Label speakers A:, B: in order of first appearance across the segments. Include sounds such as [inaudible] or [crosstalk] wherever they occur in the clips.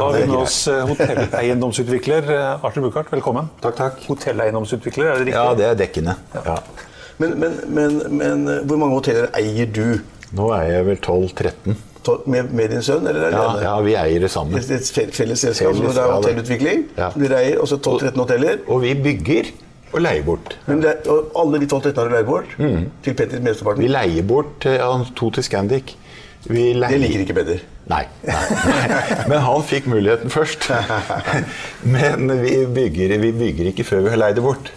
A: Da har vi med oss eh, hotelleiendomsutvikler eh, Arthur Buchardt. Velkommen. Takk, takk. Hotelleiendomsutvikler, er det riktig?
B: Ja, det er dekkende. Ja.
C: Men, men, men, men eh, hvor mange hoteller eier du?
B: Nå er jeg vel 12-13.
C: To- Med, med din sønn, eller
B: Ja,
C: alene?
B: ja, vi eier det sammen.
C: Et et fe- felles selskap
B: Felles,
C: hvor det er
B: ja, det.
C: hotellutvikling.
B: Ja.
C: som Dere eier også 12-13 hoteller.
B: Og vi bygger og leier bort.
C: Men det er, og alle de 12-13 har du leid bort til Petter
B: Mm. Vi
C: mesteparten.
B: leier bort eh, han to til Scandic. Vi leier...
C: Det liker ikke Petter.
B: Nei. Men han fikk muligheten
C: [laughs]
B: først. Men vi bygger, vi bygger ikke før vi har leid det bort.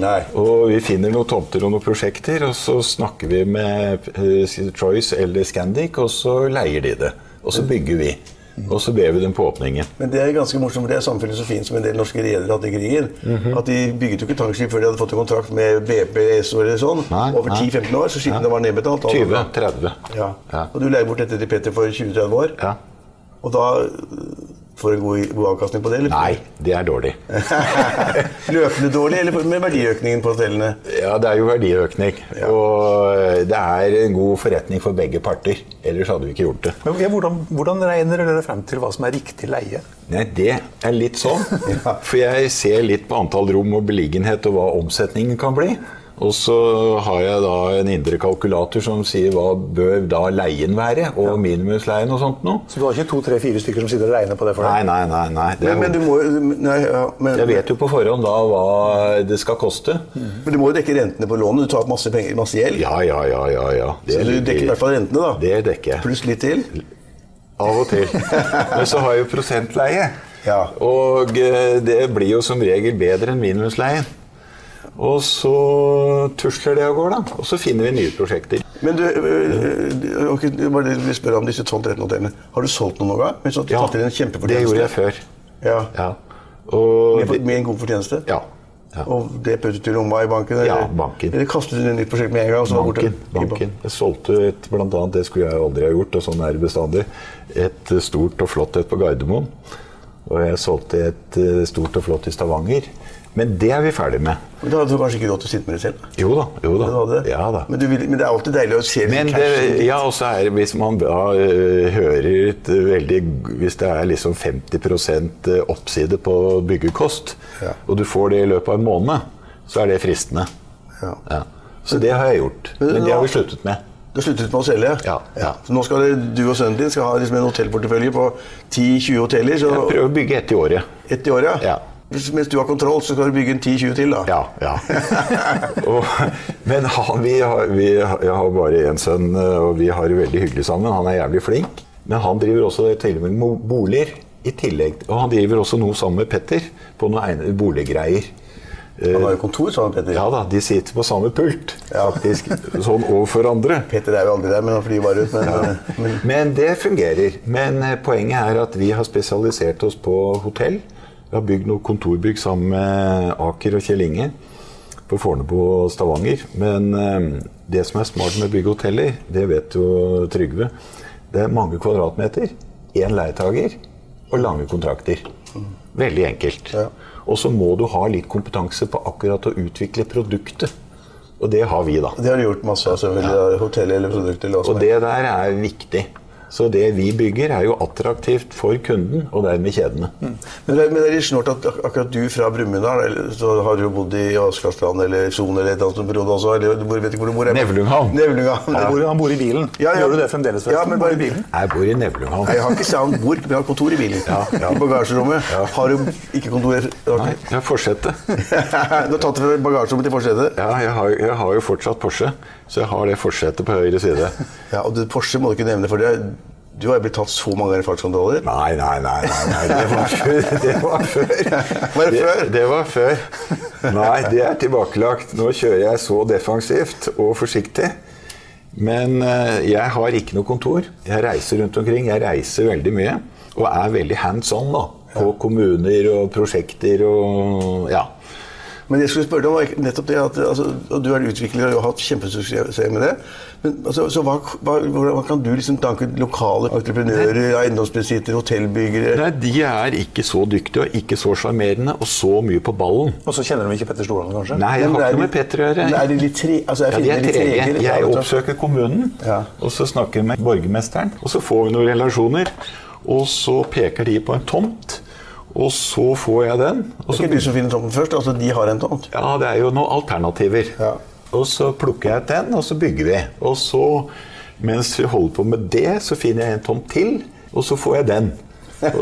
C: Nei.
B: Og vi finner noen tomter og noen prosjekter, og så snakker vi med eh, Choice eller Scandic, og så leier de det. Og så bygger vi. Og så ber vi dem på åpningen.
C: Men det er ganske morsomt, for det er samme filosofien som en del norske redere hadde i krigen.
B: Mhm.
C: At de bygget jo ikke tankskip før de hadde fått en kontrakt med BP SO eller sånn.
B: Nei,
C: over
B: nei.
C: 10-15 år, så skipene
B: Ja.
C: var nedbetalt. alt var bra.
B: 20-30.
C: Ja.
B: Ja.
C: Og du leier bort dette til Petter for 20-30 år.
B: Ja.
C: Og da øh, får du en god, god avkastning på det? eller? [laughs]
B: Nei, det er dårlig.
C: Løpende dårlig, eller med verdiøkningen på hotellene?
B: Ja, det er jo verdiøkning. Og det er en god forretning for begge parter. Ellers hadde vi ikke gjort det.
A: Men, ok, hvordan, hvordan regner dere frem til hva som er riktig leie?
B: Nei, det er litt
C: [laughs]
B: sånn. For jeg ser litt på antall rom og beliggenhet og hva omsetningen kan bli. Og så har jeg da en indre kalkulator som sier hva bør da leien være, og minimumsleien og sånt noe.
A: Så du har ikke to, tre, fire stykker som sitter og regner på det for
B: Nei,
A: deg?
B: nei, nei. nei. Det
C: Men, men, du
B: er,
C: må, jo- nei, ja, men,
B: jeg vet jo på forhånd da hva det skal koste.
C: men du må jo dekke rentene på lånet. Du tar opp masse penger, masse gjeld.
B: Ja, ja, ja, ja. ja. Det
C: så du
B: ligger-
C: dekker i hvert fall rentene, da.
B: Det dekker jeg.
C: Pluss litt til.
B: Av
C: [laughs]
B: og til. Men så har jeg jo prosentleie.
C: Ja.
B: Og eh, det blir jo som regel bedre enn minimumsleien. Og så tusler det av gårde, da. Og så finner vi nye prosjekter.
C: Men du, øh, øh, ok, jeg bare vil spørre om disse 12-13 hotellene. Har du solgt noen noe? Men så har du tatt inn en kjempefortjeneste.
B: det gjorde jeg før.
C: Ja.
B: Ja. Og
C: Med,
B: det-
C: med en god fortjeneste?
B: ja. ja.
C: Og det puttet du i lomma i banken? Eller,
B: Ja, banken.
C: Eller kastet du inn i et nytt prosjekt med en gang? Og så var det
B: Banken.
C: borte?
B: banken. Jeg solgte et, blant annet, det skulle jeg jo aldri ha gjort, og sånn er det bestandig, et eh, stort og flott et på Gardermoen. Og jeg solgte et eh, stort og flott i Stavanger. Men det er vi ferdig med.
C: Men da hadde du kanskje ikke råd til å sitte med det selv?
B: Jo da. jo da.
C: Du hadde det?
B: Ja da.
C: Men, du vil, men det er alltid deilig å se litt
B: Men
C: cash.
B: det, ja, også er, det hvis man da eh, hører et veldig Hvis det er liksom 50 oppside på byggekost,
C: Ja.
B: og du får det i løpet av en måned, så er det fristende.
C: Ja.
B: Ja. Så det har jeg gjort.
C: Men
B: Men det har
C: da-
B: vi sluttet med.
C: Du har sluttet med å selge?
B: Ja, ja.
C: Så nå skal det, du og sønnen din skal ha liksom en hotellportefølje på 10-20 hoteller så
B: Jeg prøver å bygge ett i året.
C: ett i året?
B: Ja.
C: Hvis- Mens du har kontroll, så skal du bygge en 10-20 til? da?
B: Ja,
C: [laughs]
B: ja. og, men han, vi har, vi har, jeg har bare én sønn, og vi har det veldig hyggelig sammen. Han er jævlig flink. Men han driver også til og med mo- boliger i tillegg. Og han driver også noe sammen med Petter på noen egne- boliggreier. Eh,
C: Han har jo kontor sammen med Petter.
B: Ja da, de sitter på samme pult,
C: Ja.
B: faktisk. Sånn overfor andre.
C: Petter er jo aldri der, men han flyr bare ut. Men, eh, men,
B: Men det fungerer. Men eh, poenget er at vi har spesialisert oss på hotell. Vi har bygd noen kontorbygg sammen med Aker og Kjell Inge på Fornebu og Stavanger. Men eh, det som er smart med å bygge hoteller, det vet jo Trygve, det er mange kvadratmeter, én leietager og lange kontrakter. Veldig enkelt. Og så må du ha litt kompetanse på akkurat å utvikle produktet. Og det har vi, da.
C: Det har de gjort masse av, selvfølgelig. av Hotell eller produkter. eller hva som
B: Og
C: er.
B: det der er viktig. Så det vi bygger, er jo attraktivt for kunden, og dermed kjedene.
A: Mm.
C: Men, det, men det er litt snålt at ak akkurat du fra Brumunddal, eller så har du jo bodd i Askarsland eller Son eller et eller annet sånt periode også. Eller du bor, vet ikke hvor du bor. jeg-
B: Nevlunghavn.
C: Nevlunghavn.
A: Han
C: Der bor
A: bor,
C: du.
A: han bor i bilen.
C: Ja, ja.
A: Gjør du det fremdeles?
C: Ja, men bare-
A: i bilen.
B: Jeg bor i Nevlunghavn.
C: Nei, Jeg har ikke soundboard, men jeg har kontor i bilen. I bagasjerommet. Har du ikke kontor
B: Nei,
C: [laughs] okay.
B: jeg fortsetter.
C: Du har tatt det fra bagasjerommet til forsetet?
B: Ja, jeg har, jeg har jo fortsatt Porsche, så jeg har det forsetet på høyre side.
C: Ja, og det, Porsche må du ikke nevne, for det, er- du har jo blitt tatt så mange ganger i fartskontroller.
B: Nei, nei, nei, nei, nei. Det,
C: [laughs]
B: var før, det var før.
C: Var det før?
B: Det, det var før. Nei, det er tilbakelagt. Nå kjører jeg så defensivt og forsiktig. Men eh, jeg har ikke noe kontor. Jeg reiser rundt omkring. Jeg reiser veldig mye. Og er veldig hands on da, på kommuner og prosjekter og ja.
C: Men jeg skulle spørre deg om var nettopp det at altså, og du er utvikler og har hatt kjempesuksess med det. Men altså, så hva, hva, hvordan hva kan du liksom tanke lokale entreprenører, eiendomsbesittere, hotellbyggere?
B: Nei, de er ikke så dyktige og ikke så sjarmerende og så mye på ballen.
A: Og så kjenner de ikke Petter Stordalen, kanskje?
B: Nei, jeg
C: Men
B: har
C: er
B: ikke noe
C: de-
B: med Petter å gjøre.
C: Men er de litt tre... Altså, jeg
B: Ja, de er
C: finner litt
B: trege.
C: trege.
B: Jeg
C: Ja, vet du hva.
B: oppsøker kommunen,
C: Ja.
B: og så snakker jeg med borgermesteren. Og så får vi noen relasjoner, og så peker de på en tomt, og så får jeg den. Og
C: Det er
B: så,
C: ikke du som finner tomten først, altså de har en tomt.
B: ja, det er jo noen alternativer.
C: Ja.
B: Og så plukker jeg ut den, og så bygger vi. Og så, mens vi holder på med det, så finner jeg en tomt til, og så får jeg den.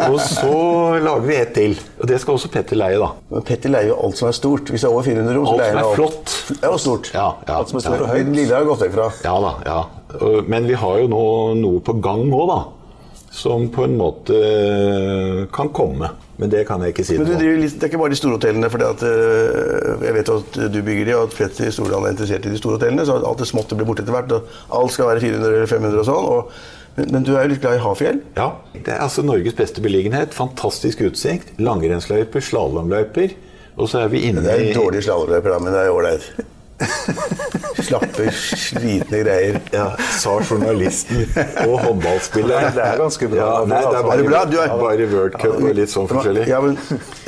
B: Og så lager vi et til. Og det skal også Petter leie, da.
C: Men Petter leier jo alt som er stort. Hvis det er over 400 rom, så
B: Alt
C: leier
B: som
C: han
B: er
C: alt.
B: flott.
C: Ja, og stort.
B: Ja, ja,
C: alt som er stort
B: ja.
C: og høyt. Lille har gått vekk fra.
B: Ja da, ja. Og- Men vi har jo nå noe på gang nå, da. Som på en måte kan komme. Men det kan jeg ikke si
C: Men du
B: noe om.
C: driver litt, Det er ikke bare de store hotellene. For at, øh, jeg vet at du bygger de, og at Petter Stordalen er interessert i de store hotellene. Så alt det småtte blir borte etter hvert. og Alt skal være 400 eller 500 og sånn. Og, men, men du er jo litt glad i Hafjell.
B: Ja, Det er altså Norges beste beliggenhet. Fantastisk utsikt. Langrennsløyper, slalåmløyper. Og så er vi inne
C: Det er
B: i
C: dårlige slalåmløyper, da, men det er [laughs] ålreit. Slappe, slitne greier.
B: Ja, sa journalisten og håndballspilleren.
A: Det er ganske bra.
B: Ja, nei, det er bare,
C: Er Altså, det bra? Du er-
B: bare World Cup og litt sånn forskjellig.
C: Ja, men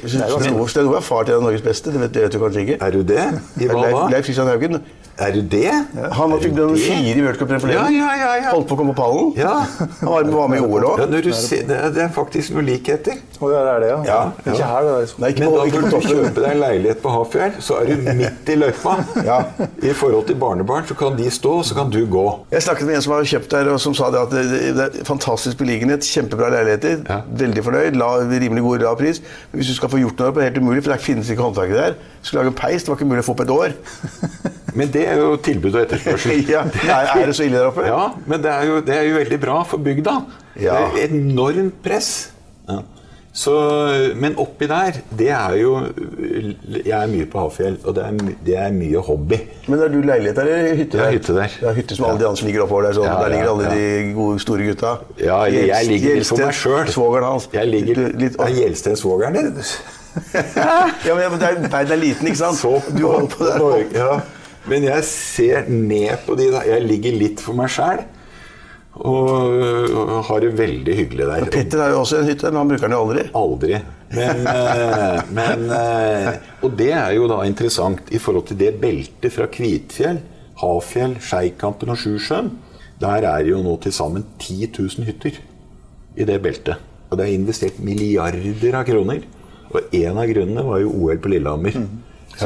C: Sten Ove er far til en av Norges beste. Det vet, det vet du kanskje ikke?
B: Er du det? I hva
C: Leif,
B: da?
C: Leif Kristian Haugen.
B: Er du det?
C: Han
B: Er
C: fikk
B: du
C: nummer
B: det?
C: fire i worldcupen
B: Ja,
C: forleden.
B: ja, ja, ja.
C: Holdt på å komme på pallen.
B: Ja.
C: Han var var med i OL òg.
B: Ja, når du ser, det, er, det er faktisk noen likheter.
A: Og det er det, ja.
B: Ja,
A: Ikke
B: ja.
A: her, det er
C: Nei, ikke
B: Men
C: på,
B: da
C: ikke på
B: burde du
C: toppen.
B: kjøpe deg en leilighet på Hafjell, så er du midt i løypa.
C: Ja.
B: I forhold til barnebarn, så kan de stå, så kan du gå.
C: Jeg snakket med en som har kjøpt der, og som sa det at det, det er fantastisk beliggenhet, kjempebra leiligheter,
B: Ja.
C: veldig fornøyd, la, rimelig god lav pris. Men hvis du skal få gjort noe, det er helt umulig, for det finnes ikke håndverket der. Skulle lage en peis, det var ikke mulig å få på et år.
B: Men det er jo tilbud og [laughs] etterspørsel.
C: ja, er, er det så ille der oppe?
B: Ja, men det er jo, det er jo veldig bra for bygda.
C: Ja.
B: Det er enormt press. Ja. Så, men oppi der, det er jo Jeg er mye på Hafjell, og det er, my- det er mye hobby.
C: Men er du leilighet der, eller
B: Jeg
C: hytte der?
B: har hytte der.
C: Ja, hytte som alle de andre som ligger oppover der, sånn.
B: Ja, ja,
C: der ligger alle
B: ja.
C: de gode, store gutta.
B: Ja, eller jeg
C: Gjelst-
B: ligger litt for meg
C: Gjelsten,
B: sjøl.
C: Svogeren hans.
B: Jeg ligger
C: Du- litt-
B: Er Gjelsten svogeren [laughs] din?
C: Ja, men det er, verden er liten, ikke sant?
B: Så
C: du holder på der.
B: Norge, ja. Men jeg ser ned på de da. Jeg ligger litt for meg sjæl. Og, og har det veldig hyggelig der.
C: Petter har jo også en hytte, men han bruker den jo aldri.
B: Aldri. Men, eh, men eh, Og det er jo da interessant i forhold til det beltet fra Kvitfjell, Hafjell, Skeikampen og Sjusjøen. Der er jo nå til sammen 10 000 hytter i det beltet. Og det er investert milliarder av kroner. Og en av grunnene var jo OL på Lillehammer, som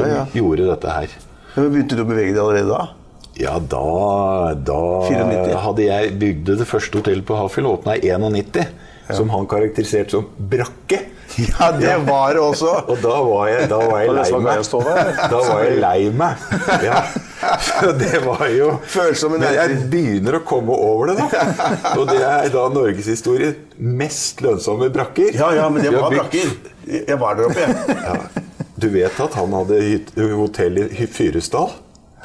C: Mhm. ja.
B: gjorde dette her.
C: Ja, Men begynte du å bevege deg allerede da?
B: Ja, da, da
C: 94.
B: hadde jeg bygde det første hotellet på Hafjell, åpna i 91. Som han karakteriserte som brakke.
C: Ja, det var det [laughs] også.
B: Og da var jeg, da var jeg
A: Og det
B: lei
A: som var gøy å
B: meg.
A: stå der.
B: Da var jeg lei meg. Ja. Så det var jo
C: Følsom i
B: Men jeg
C: nerver.
B: begynner å komme over det, da. Og det er da norgeshistoriens mest lønnsomme brakker.
C: Ja, ja, men det
B: Vi har
C: var
B: bygd-
C: brakker. Jeg var der oppe, jeg.
B: Ja. Du vet at han hadde hyt- hotell i Hy- Fyresdal?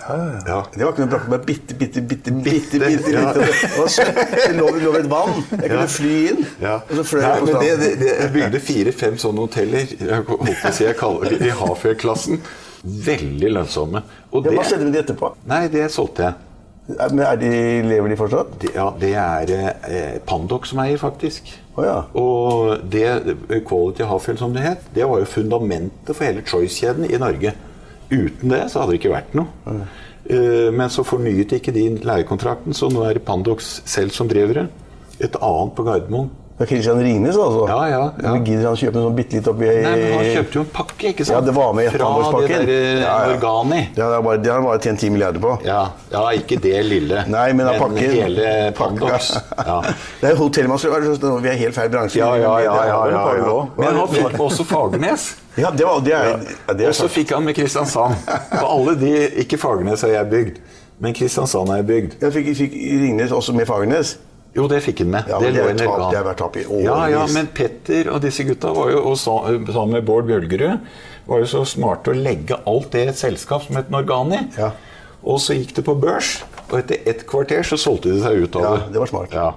B: Ja.
C: Det var ikke noen brakker, bare bitte, bitte, bitte, bitte, bitte,
B: Bitte,
C: bitte.
B: ja.
C: Det var så- Det lå det lå ved et vann. Jeg kunne fly inn,
B: Ja.
C: og så fløy
B: Nei,
C: jeg på
B: men det, det,
C: stranden.
B: det, jeg bygde fire-fem sånne hoteller jeg holdt på å si jeg kaller det i Hafjell-klassen. Veldig lønnsomme. Og
C: Ja, Hva
B: det,
C: skjedde med de etterpå?
B: nei, det solgte jeg.
C: Men er de, lever de fortsatt?
B: Det, ja, det er eh, Pandoc som eier, faktisk.
C: Å ja.
B: Og det eh, Quality Hafjell, som det het, det var jo fundamentet for hele Choice-kjeden i Norge. Uten det så hadde det ikke vært noe. Eh, Men så fornyet ikke de leiekontrakten, så nå er det Pandox selv som driver det. Et annet på Gardermoen.
C: Det er Christian Ringnes, altså?
B: Ja, ja, ja.
C: Men Gidder han kjøpe noe sånn bitte litt oppi
B: Nei, men han kjøpte jo en pakke, ikke sant?
C: Ja, det var med i
B: Fra det
C: ettandårspakken.
B: der eh,
C: Ja, ja.
B: Organi.
C: Det har han bare, det har han bare tjent 10 milliarder på.
B: Ja, ja, ikke det lille.
C: Nei, men av pakken.
B: hele Pandox.
C: Ja.
B: [laughs] Ja.
C: Det er jo hotellmasse. Vi er helt feil bransje.
B: Ja, ja, ja, ja, ja, ja. Men han
C: ja.
B: fikk også Fagernes.
C: Ja, det var det. Er, ja, det er
B: Og så
C: sant.
B: fikk han med Kristiansand. Og alle de Ikke Fagernes har jeg bygd, men Kristiansand har jeg bygd.
C: Jeg fikk, fikk Ringnes også med Fagernes.
B: Jo, det fikk han med.
C: Ja, men det
B: lå
C: er
B: i en
C: tap-
B: organ.
C: det har vært tap i årevis.
B: Ja, ja, men Petter og disse gutta var jo, og sa- sammen med Bård Bjølgerud, var jo så smarte å legge alt det i et selskap som het Norgani.
C: Ja.
B: Og så gikk det på børs, og etter ett kvarter så solgte de seg ut av
C: Ja,
B: det.
C: det var smart.
B: Ja.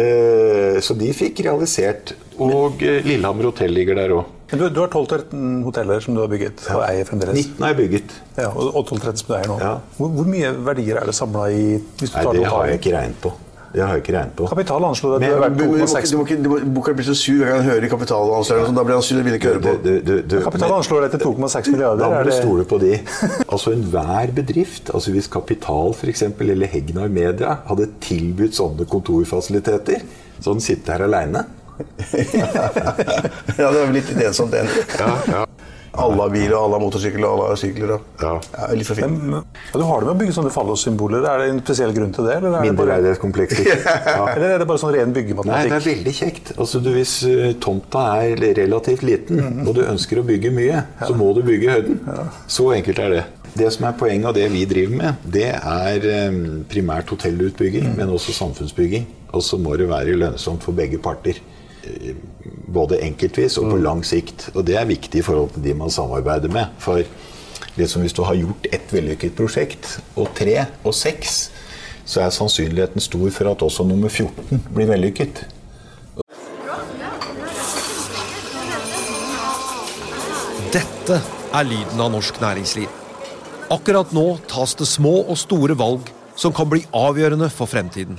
B: Eh, så de fikk realisert. Og eh, Lillehammer hotell ligger der òg.
A: Men Du, du har 12-13 hoteller som du har bygget og eier fremdeles.
B: 19 er bygget.
A: Ja, og og 12-13 som du eier nå.
B: Ja.
A: Hvor, hvor mye verdier er det samla i hvis du
B: Nei,
A: tar
B: det
A: noe
B: har
A: tall?
B: jeg ikke regnet på. Det har jeg ikke regnet på.
A: Kapital anslår at
B: Men
A: du er
B: jeg-
A: verdt
C: Du, du, må ikke-
A: 2,6
C: du må ikke- du må- Bokhart blir så sur hver gang han hører kapitalanstrengelser. sånn, Da blir han sur og begynner ikke å høre på.
B: Du- du- du-
A: Kapital
B: men-
A: anslår deg til 2,6 milliarder.
B: Da må
A: er
B: du
A: det-
B: stole på de. [laughs] Altså Enhver bedrift, altså hvis Kapital for eksempel, eller Hegnar Media hadde tilbudt sånne kontorfasiliteter, så hadde den sittet her aleine.
C: [laughs] ja, det er vel litt ensomt, den. Alle har bil, og alle har motorsykkel, og alle har sykler. Og.
B: Ja.
C: litt for fint.
A: Men- Ja, du har det med å bygge sånne fallossymboler. Er det en spesiell grunn til det? Eller er det, bare,
B: Mindreverdighetskomplekser. Ja.
A: [laughs] eller er det bare sånn ren
B: Nei, det
A: byggematikk?
B: er veldig kjekt. Altså, du, hvis eh, tomta er relativt liten,
A: Mhm.
B: og du ønsker å bygge mye, så må du bygge i høyden. Så enkelt er det. Det som er poenget, og det vi driver med, det er eh, primært
A: Mhm.
B: hotellutbygging, men også samfunnsbygging. Og så må det være lønnsomt for begge parter. Eh, Både enkeltvis og på lang sikt. Og det er viktig i forhold til de man samarbeider med. For det som hvis du har gjort ett vellykket prosjekt, og tre, og seks, så er sannsynligheten stor for at også nummer 14 blir vellykket.
D: Dette er lyden av norsk næringsliv. Akkurat nå tas det små og store valg som kan bli avgjørende for fremtiden.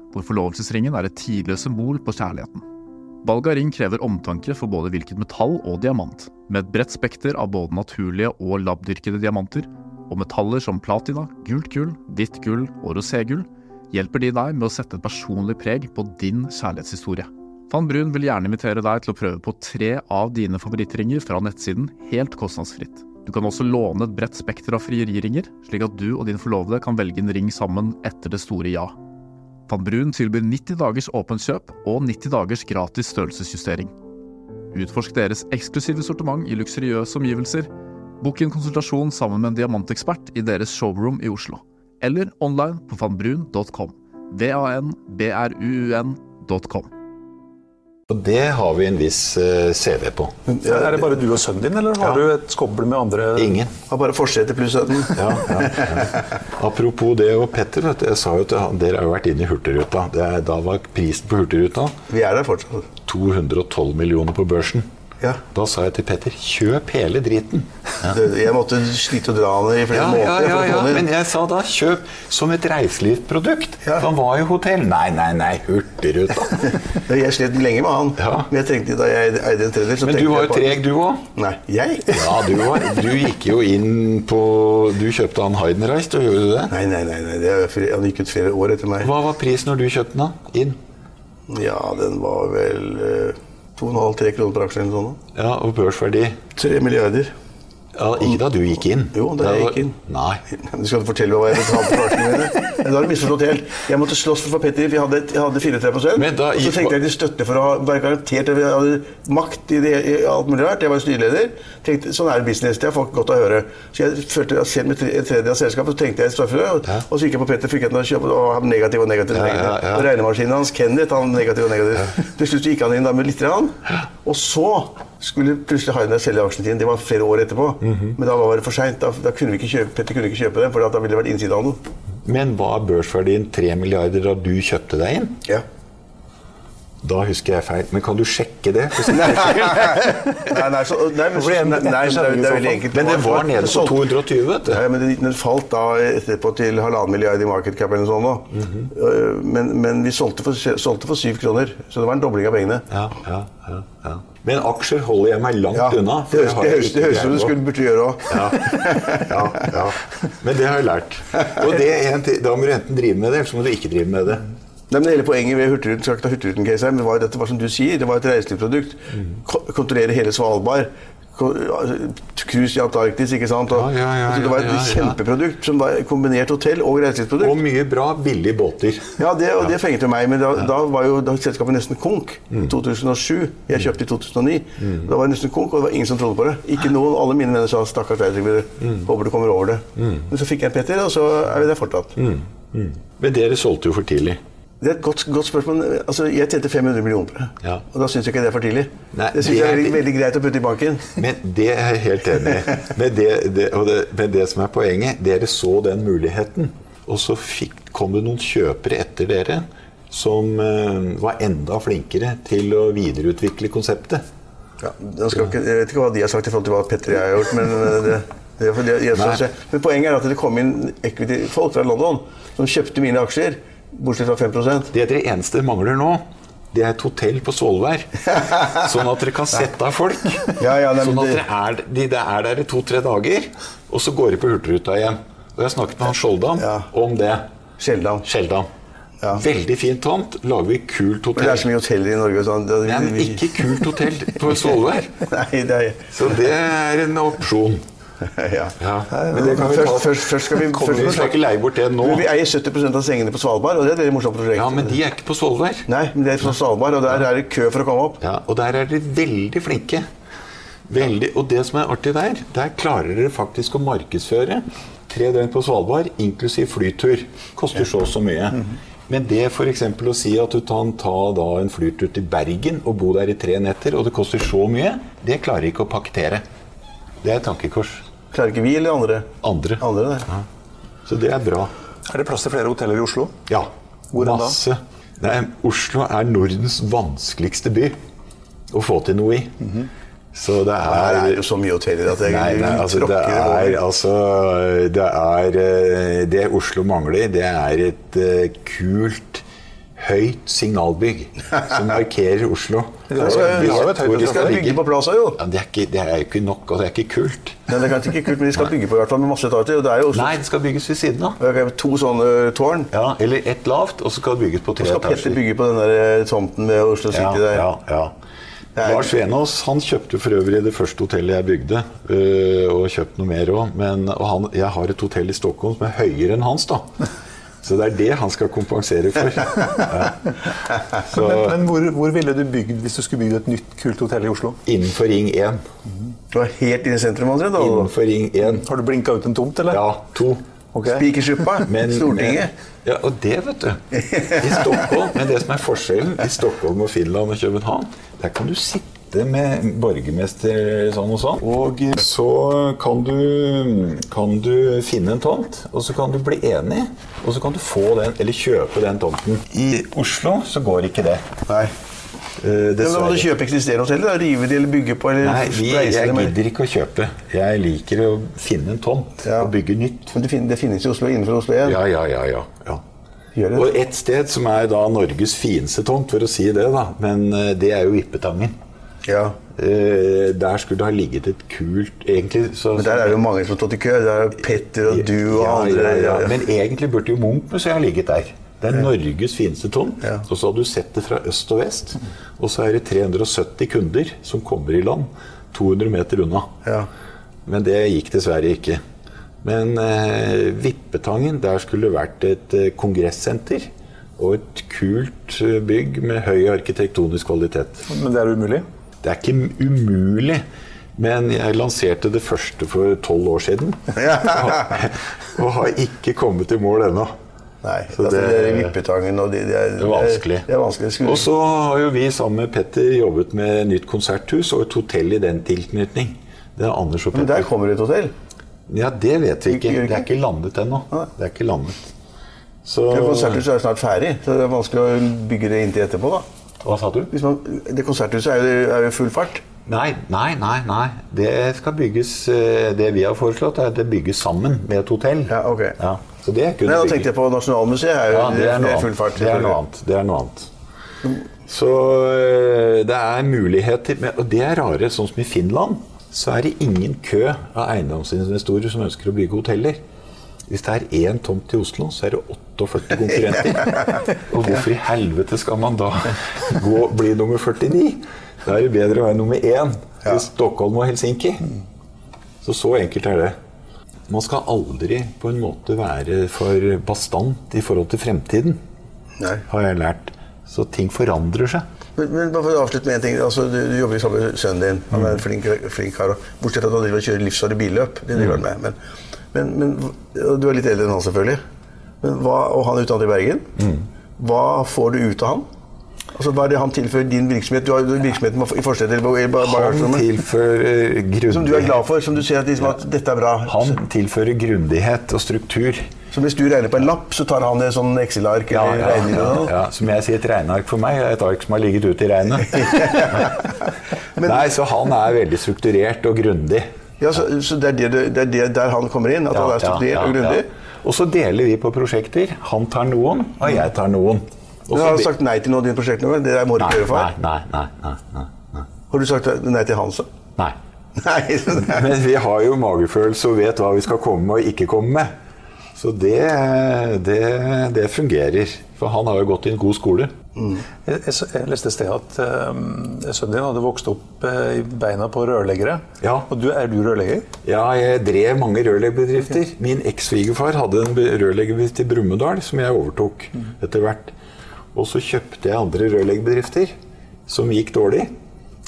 E: hvor forlovelsesringen er et tidløst symbol på kjærligheten. Valg av ring krever omtanke for både hvilket metall og diamant, med et bredt spekter av både naturlige og labdyrkede diamanter, og metaller som platina, gult gull, hvitt gull og roségull hjelper de deg med å sette et personlig preg på din kjærlighetshistorie. Van Brun vil gjerne invitere deg til å prøve på tre av dine favorittringer fra nettsiden helt kostnadsfritt. Du kan også låne et bredt spekter av frieriringer, slik at du og din forlovede kan velge en ring sammen etter det store ja. Van Brun tilbyr 90 dagers åpent kjøp og 90 dagers gratis størrelsesjustering. Utforsk deres eksklusive sortiment i luksuriøse omgivelser. Bok en konsultasjon sammen med en diamantekspert i deres showroom i Oslo. Eller online på vanbrun.com. V-a-n-b-r-u-u-n.com.
B: Og det har vi en viss eh, CV på.
A: Ja, er det bare du og sønnen din, eller har du et skobbel med andre?
B: Ingen.
C: Har bare forsetet pluss 17.
B: Ja, ja, ja. [laughs] Apropos det og Petter, vet du, jeg sa jo til han, dere har jo vært inne i Hurtigruta. Det, er- da var prisen på Hurtigruta
C: Vi er der fortsatt.
B: 212 millioner på børsen.
C: Ja.
B: Da sa jeg til Petter kjøp hele driten.
C: Det- Jeg måtte slite og dra han i flere
B: Ja, ja,
C: måneder.
B: ja,
C: for å
B: ja,
C: få den
B: men
C: inn.
B: jeg sa da kjøp som et reiselivsprodukt.
C: Ja.
B: Han var jo hotell. Nei, nei, nei, [laughs] Hurtigruta.
C: Ja, Jeg slet lenge med han.
B: Ja.
C: Men jeg tenkte, da jeg eide en tredjedel, så
B: Men
C: tenkte
B: du var
C: jeg
B: jo
C: på-
B: treg, du òg.
C: Nei, jeg?
B: Ja, du, var, du gikk jo inn på Du kjøpte han Heidenreich, du gjorde du det?
C: Nei, nei, nei, nei. Det er, fri- han gikk ut flere år etter meg.
B: Hva var prisen når du kjøpte den? da? Inn?
C: Ja, den var vel eh, 2,5-3 kroner per aksje eller noe sånt.
B: Ja, og børsverdi?
C: Tre milliarder.
B: Ja, ikke da du gikk inn.
C: Jo, da jeg gikk inn.
B: Nei.
C: Du skal ikke fortelle meg hva jeg betalte for aksjene mine. Da har du misforstått helt. Jeg måtte slåss for Petter. Vi hadde, jeg hadde 34
B: Men da
C: Og så
B: gikk-
C: tenkte jeg til støtte for å ha- være garantert at jeg hadde makt i, det, i alt mulig rart. Jeg var jo styreleder. Tenkte, sånn er det i business. Det har folk godt av å høre. Så jeg følte at selv med tre- en tredjedel av selskapet, så tenkte jeg straffer det. Og,
B: Ja.
C: og så gikk jeg på Petter, fikk jeg til å kjøpe og han negativ og negativ. Og
B: Ja,
C: negativ.
B: ja, ja.
C: Og regnemaskinen hans, Kenneth, han negativ og negativ. Til slutt gikk han inn da med litt. Grann. Og så skulle plutselig Hainar selge aksjene sine. Det var flere år etterpå.
B: Mhm.
C: Men da var det for seint. Da, da kunne vi ikke kjøpe, Petter kunne ikke kjøpe dem, for da ville det vært innsidehandel.
B: Men var børsverdien 3 milliarder da du kjøpte deg inn?
C: [laughs] Ja.
B: Da husker jeg feil. Men kan du sjekke det? [laughs]
C: Nei, nei, så, nei, men,
B: Fordi jeg-
C: nei, nei, så, det er- det er veldig enkelt.
B: Men det var nede på
C: Solgte-
B: 220, vet du.
C: Ja, ja, men den, den falt da etterpå til halvannen milliard i market cap eller noe sånt. nå.
B: Mhm.
C: Øh, men, men vi solgte for, solgte for syv kroner, så det var en dobling av pengene.
B: Ja, ja, ja, ja. Men aksjer holder jeg meg langt unna.
C: det høres- det høres det høres ut som du skulle burde gjøre òg.
B: ja, ja, ja. Men det har jeg lært. Og det er en, ting- da må du enten drive med det, eller så må du ikke drive med det.
C: Nei, men Hele poenget ved Hurtigruten skal ikke ta Hurtigruten-case her, men det var jo dette var som du sier, det var et reiselivsprodukt. Ko kontrollere hele Svalbard. ko- altså, Cruise i Antarktis, ikke sant. Og,
B: Ja, ja, ja,
C: altså, det var et
B: ja, ja, ja.
C: kjempeprodukt som var kombinert hotell og reiselivsprodukt.
B: Og mye bra, billige båter.
C: Ja, det, og det fenget jo meg, men da, da var jo da selskapet nesten konk.
B: Mm.
C: 2007. Jeg kjøpte i 2009. Da var det nesten konk, og det var ingen som trodde på det. Ikke noen, Alle mine venner sa 'stakkars reisetilbyder,
B: Mm.
C: håper du kommer over det'. Men så fikk jeg en Petter, og så er vi der
B: Mm.
C: fortsatt.
B: Men dere solgte jo for tidlig.
C: Det er et godt, godt spørsmål. men, Altså, jeg tjente 500 millioner på det.
B: Ja.
C: Og da syns jeg ikke det er for tidlig.
B: Nei,
C: det syns
B: det
C: jeg
B: er
C: er veldig,
B: det-
C: veldig greit å putte i banken.
B: Men det er jeg helt enig i. Men det, det, og det, men det som er poenget, dere så den muligheten. Og så fikk, kom det noen kjøpere etter dere som eh, var enda flinkere til å videreutvikle konseptet.
C: Ja, da skal ikke, jeg vet ikke hva de har sagt i forhold til hva Petter og jeg har gjort, men eh, det, det er for det, jeg,
B: Nei.
C: jeg, Men poenget er at det kom inn equity-folk fra London som kjøpte mine aksjer, bortsett fra 5
B: Det dere eneste mangler nå, det er et hotell på
C: [laughs]
B: Svolvær. Sånn at dere kan sette av folk.
C: Ja, ja, nei, men
B: sånn at
C: det-
B: dere er, de, de er der i to-tre dager, og så går de på Hurtigruta igjen. Og jeg har snakket med han Skjoldam
C: Ja.
B: om det.
C: Sjeldan.
B: Skjeldam. Veldig fin tomt. Lager vi kult
C: Men det er
B: hotell.
C: så mye hoteller i Norge. og Sånn. Det,
B: Nei, men ikke kult hotell
C: [laughs]
B: på Svolvær.
C: Nei, det er
B: Så det er en opsjon.
C: ja.
B: Ja,
C: Nei,
B: men det kan vi
C: først,
B: ta-
C: først, først skal vi
B: Kommer
C: først
B: vi skal ikke leie bort det nå.
C: Men Vi eier 70 av sengene på Svalbard, og det er et veldig morsomt prosjekt.
B: Ja, men de er ikke på Svolvær.
C: Nei, men det er fra Svalbard, og der er det kø for å komme opp.
B: Ja, og der er dere veldig flinke. Veldig, og det som er artig der, der klarer dere faktisk å markedsføre tre døgn på Svalbard, inklusiv flytur. Koster så og så mye.
C: Mhm.
B: Men det f.eks. å si at du kan ta da en flytur til Bergen og bo der i tre netter, og det koster så mye, det klarer ikke å paktere. Det er et tankekors.
C: Klarer ikke vi eller andre?
B: Andre.
C: Andre, nei.
B: Så det er bra.
A: Er det plass til flere hoteller i Oslo?
B: Ja.
A: Hvor enn da?
B: masse. Nei, Oslo er Nordens vanskeligste by å få til noe i. Så det
C: Her
B: er
C: er Mhm. det jo så mye hoteller at jeg
B: Nei, nei, altså, det
C: tråkker
B: er,
C: over.
B: altså det, er, eh, det Oslo mangler, det er et eh, kult, høyt signalbygg som markerer
C: [laughs]
B: Oslo.
A: Vi har jo- vi har jo et høyt
B: Hvor de
C: Vi skal
B: skal
C: bygge
B: ligge.
C: på plass her, jo.
B: Ja, det, er ikke, det er jo ikke nok, og det er ikke kult.
C: Nei, det er kanskje ikke kult, men de skal bygge på i hvert fall med masse etasjer. Og det er jo også
B: Nei, det skal bygges ved siden av.
C: Ok, to sånne eh, tårn.
B: Ja, eller ett lavt, og så skal det bygges på tre
C: Skal Petter
B: etasjer.
C: bygge på den der eh, tomten ved Oslo City
B: Ja,
C: der? [laughs]
B: ja, ja.
C: Det er-
B: Lars Venås han kjøpte for øvrig det første hotellet jeg bygde. øh, og kjøpt noe mer òg. Men og han, jeg har et hotell i Stockholm som er høyere enn
C: [laughs]
B: hans. da. Så det er det han skal kompensere for. Ja. Så
A: Men, men hvor, hvor ville du bygd hvis du skulle bygd et nytt kult hotell i Oslo?
B: innenfor Ring 1.
C: Du var helt inne i sentrum, omtrent? da.
B: Innenfor Ring 1.
A: Har du blinka ut en tomt, eller?
B: Ja, to.
A: Ok.
C: Spikersuppa?
B: [laughs] Men- eh,
C: Stortinget?
B: Ja, og det, vet du. I Stockholm, Men det som er forskjellen i Stockholm og Finland og København, der kan du sitte med borgermester sånn og sånn. Og så kan du, kan du finne en tomt, og så kan du bli enig, og så kan du få den, eller kjøpe den tomten. I Oslo så går ikke det.
C: Nei.
B: eh,
C: Ja, men da må du
B: Dessverre.
C: kjøpe eksisterende hotell, da. rive det eller bygge på? Eller
B: Nei, vi,
C: spleise
B: jeg
C: det med-
B: gidder ikke å kjøpe. Jeg liker å finne en tomt
C: Ja.
B: og bygge nytt.
C: Men det, fin det finnes i Oslo, innenfor Oslo igjen.
B: Ja, ja, ja, ja, ja.
C: Gjør det.
B: Og et sted som er da Norges fineste tomt, for å si det, da, men eh, det er jo Vippetangen.
C: Ja.
B: Eh, der skulle det ha ligget et kult egentlig, så,
C: Men der er det jo mange som har stått i kø. Der er jo Petter og du og
B: ja,
C: andre.
B: ja, ja. Men egentlig burde jo Munch-museet ha ligget der. Det er Norges fineste tomt.
C: Ja.
B: Og så har du sett det fra øst og vest. Og så er det 370 kunder som kommer i land 200 meter unna.
C: Ja.
B: Men det gikk dessverre ikke. Men eh, Vippetangen, der skulle det vært et eh, kongressenter. Og et kult eh, bygg med høy arkitektonisk kvalitet.
A: Men det er umulig.
B: Det er ikke umulig, men jeg lanserte det første for tolv år siden. [laughs] og har ikke kommet i mål ennå.
C: Nei,
B: Så
C: altså, det,
B: det-
C: er Vippetangen og det, det, er,
B: Det er vanskelig.
C: Det er vanskelig
B: Og
C: skulle.
B: så har jo vi sammen med Petter jobbet med nytt konserthus og et hotell i den tilknytning. Det er Anders og
C: Men der
B: Petter.
C: kommer det et hotell.
B: Ja, det vet vi ikke.
C: Gjør ikke?
B: Det er ikke landet ennå.
C: Nei.
B: Det er ikke landet. Så
C: Men Konserthuset er jo snart ferdig, så det er vanskelig å bygge det inntil etterpå. da.
B: Hva sa du?
C: Hvis man, det konserthuset er jo, er jo full fart.
B: Nei, nei, nei. nei. Det skal bygges eh, Det vi har foreslått, er at det bygges sammen med et hotell.
C: Ja, ok.
B: Ja, så det kunne
C: Nei, da
B: bygges.
C: tenkte jeg på Nasjonalmuseet. Er jo,
B: Ja, det er noe
C: full
B: annet.
C: fart.
B: Det er noe annet. Det er noe annet. Så øh, det er muligheter. Men, og det er rare, sånn som i Finland, så er det ingen kø av eiendomsinvestorer som ønsker å bygge hoteller. Hvis det er én tomt i Oslo, så er det 48 [laughs] konkurrenter. Og hvorfor i helvete skal man da [laughs] gå, bli nummer 49? Da er det bedre å være nummer én i Stockholm og Helsinki. Så så enkelt er det. Man skal aldri på en måte være for bastant i forhold til fremtiden,
C: Nei.
B: har jeg lært. Så ting forandrer seg.
C: Men, men bare for å avslutte med en ting. Altså, du, du jobber jo sammen med sønnen din. Han
B: Mm.
C: er en flink, flink kar. og Bortsett fra at han driver og kjører livsfarlig billøp. Det driver han
B: Mm.
C: med. Men, men, men og du er litt eldre enn han, selvfølgelig. Men hva, og han er utdannet i Bergen.
B: Mm.
C: Hva får du ut av han? Altså, hva er det han tilfører din virksomhet? Du har jo virksomheten i forstedet eller i bar-
B: Han
C: bagasjerommet.
B: tilfører
C: Som du er
B: grundighet,
C: glad for, som du ser at, liksom, at dette er bra.
B: han tilfører grundighet og struktur.
C: Så hvis du regner på en lapp, så tar han det sånn Excel-ark
B: Ja,
C: eller
B: ja,
C: regner
B: ja,
C: eller noe.
B: ja. Som jeg sier, et regneark for meg er et ark som har ligget ute i regnet.
C: [laughs]
B: [laughs]
C: Men-
B: Nei, så han er veldig strukturert og grundig.
C: Ja, så, så det er, det, du- det er det der han kommer inn? At han
B: Ja,
C: er strukturert
B: ja, ja,
C: og grundig?
B: ja. Og så deler vi på prosjekter. Han tar noen, og jeg tar noen. Og
C: Men
B: så
C: har Mm. du
B: de-
C: sagt nei til noen av dine prosjekter? nå, eller? Det der må du ikke
B: Nei,
C: gjøre for.
B: nei, nei, nei, nei, nei.
C: Har du sagt nei til Hansa?
B: Nei.
C: [laughs] Nei. så det er-
B: Men vi har jo magefølelse og vet hva vi skal komme med og ikke komme med. Så det, det, det fungerer. For han har jo gått i en god skole.
A: Jeg, jeg, så- jeg leste et sted at eh, sønnen din hadde vokst opp eh, i beina på rørleggere.
B: Ja.
A: Og du, er du rørlegger?
B: Ja, jeg drev mange rørleggerbedrifter. Min eks-svigerfar hadde en be- rørleggerbedrift i Brumunddal som jeg overtok etter hvert. Og så kjøpte jeg andre rørleggerbedrifter som gikk dårlig.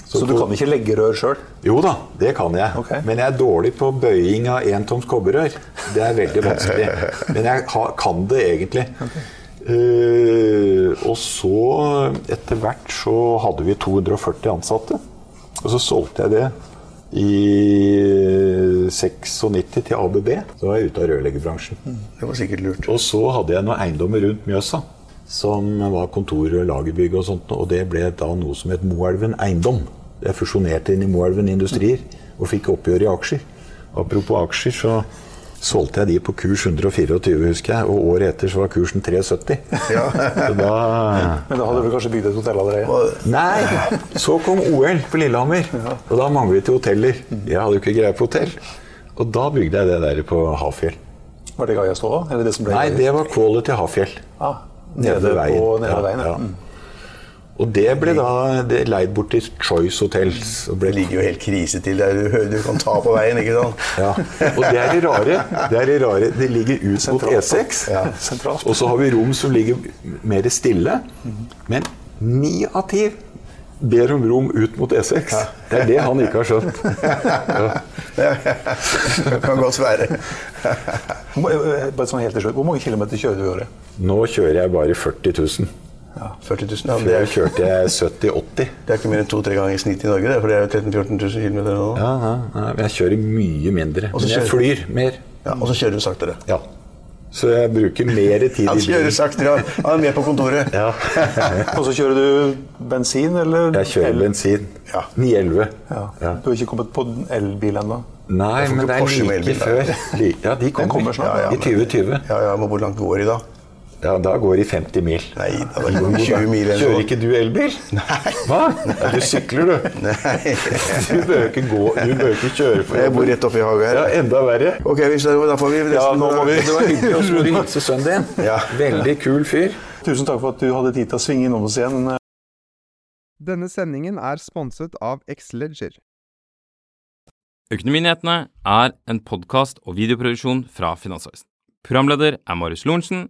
A: Så du
B: på-
A: kan ikke legge rør sjøl?
B: Jo da, det kan jeg.
A: Ok.
B: Men jeg er dårlig på bøying av entoms kobberrør. Det er veldig vanskelig. Men jeg ha, kan det egentlig. Eh, og så, etter hvert, så hadde vi 240 ansatte. Og så solgte jeg det i 96 til ABB. Så var jeg ute av rørleggerbransjen.
C: Det var sikkert lurt.
B: Og så hadde jeg noen eiendommer rundt Mjøsa. Som var kontor- og lagerbygg og sånt. Og det ble da noe som het Moelven Eiendom. Jeg fusjonerte inn i Moelven Industrier og fikk oppgjør i aksjer. Apropos aksjer, så solgte jeg de på kurs 124, husker jeg. Og året etter så var kursen 370. Så da
A: Men da hadde du kanskje bygd et hotell allerede?
C: Og,
B: Nei! Så kom OL på Lillehammer, og da manglet vi til hoteller. Jeg hadde jo ikke greie på hotell. Og da bygde jeg det der på Hafjell.
A: Var det Gaia Stova? Eller det som ble
B: Nei,
A: Gaia?
B: det var Kvålet til Hafjell.
A: ah,
B: Nede ved veien.
A: På, nede
B: Ja,
A: ved veien ja.
B: ja. Og det ble da det leid bort til Choice Hotels. Og,
C: det
B: ble,
C: ligger jo helt krise til der du, hører- du kan ta på veien, ikke sant?
B: ja. og det er det rare. Det er det rare. Det ligger ut mot
A: Sentralt.
B: E6.
A: Ja, E sentralt.
B: Og så har vi rom som ligger mer stille. Men ni av ti ber om rom ut mot E6. Det er det han ikke har skjønt.
C: [laughs] Det kan godt være.
A: Hvor må- eh, Bare sånn helt til slutt, Hvor mange kilometer kjører du i året?
B: Nå kjører jeg bare 40 000.
C: 40 000, ja, men det,
B: Før
C: er,
B: kjørte jeg 70-80.
C: det er ikke mer enn to-tre ganger i snitt i Norge, det, for det er jo 13 000-14 000 km nå.
B: Ja, ja, ja, men jeg kjører mye mindre.
C: Og så
B: Men jeg
C: kjører-
B: flyr mer.
C: Ja, og så kjører du saktere.
B: Ja. Så jeg bruker mer tid
C: Han
B: i
C: kjører
B: bilen.
C: saktere, han- han er med på kontoret.
B: Ja.
A: Og så kjører du bensin, eller?
B: [laughs] Jeg kjører bensin.
C: Ja.
B: 911.
A: Ja.
B: Ja.
A: Du har ikke kommet på en elbil ennå?
B: Nei,
C: får
B: men
C: ikke
B: det er
C: Porsche
B: like
C: med elbil, da. [laughs]
B: før. Like- Ja, de kommer,
A: kommer snart,
B: Ja, ja,
C: da.
B: I 2020.
C: Ja, ja, men hvor langt går de da?
B: Ja, da går de 50 mil.
C: Nei, da var det 20 mil eller
B: Kjører
C: noe.
B: ikke du elbil?
C: [laughs] Nei.
B: Hva? Ja, du sykler, du.
C: [laughs] Nei.
B: [laughs] Du bør ikke gå, du bør ikke kjøre for
C: Jeg bor rett oppe i hagen her.
B: Ja, enda
C: [laughs]
B: verre.
C: Ok, vi ser, da får vi nesten...
A: Ja, nå må vi-
B: Det var hyggelig
C: [laughs]
B: å skulle hilse sønnen din.
C: Ja.
B: Veldig kul fyr.
A: Tusen takk for at du hadde tid til å svinge innom oss igjen.
F: Denne sendingen er sponset av X-Ledger.
G: Økonominyhetene er en podkast og videoproduksjon fra Finansavisen. Programleder er Marius Lorentzen.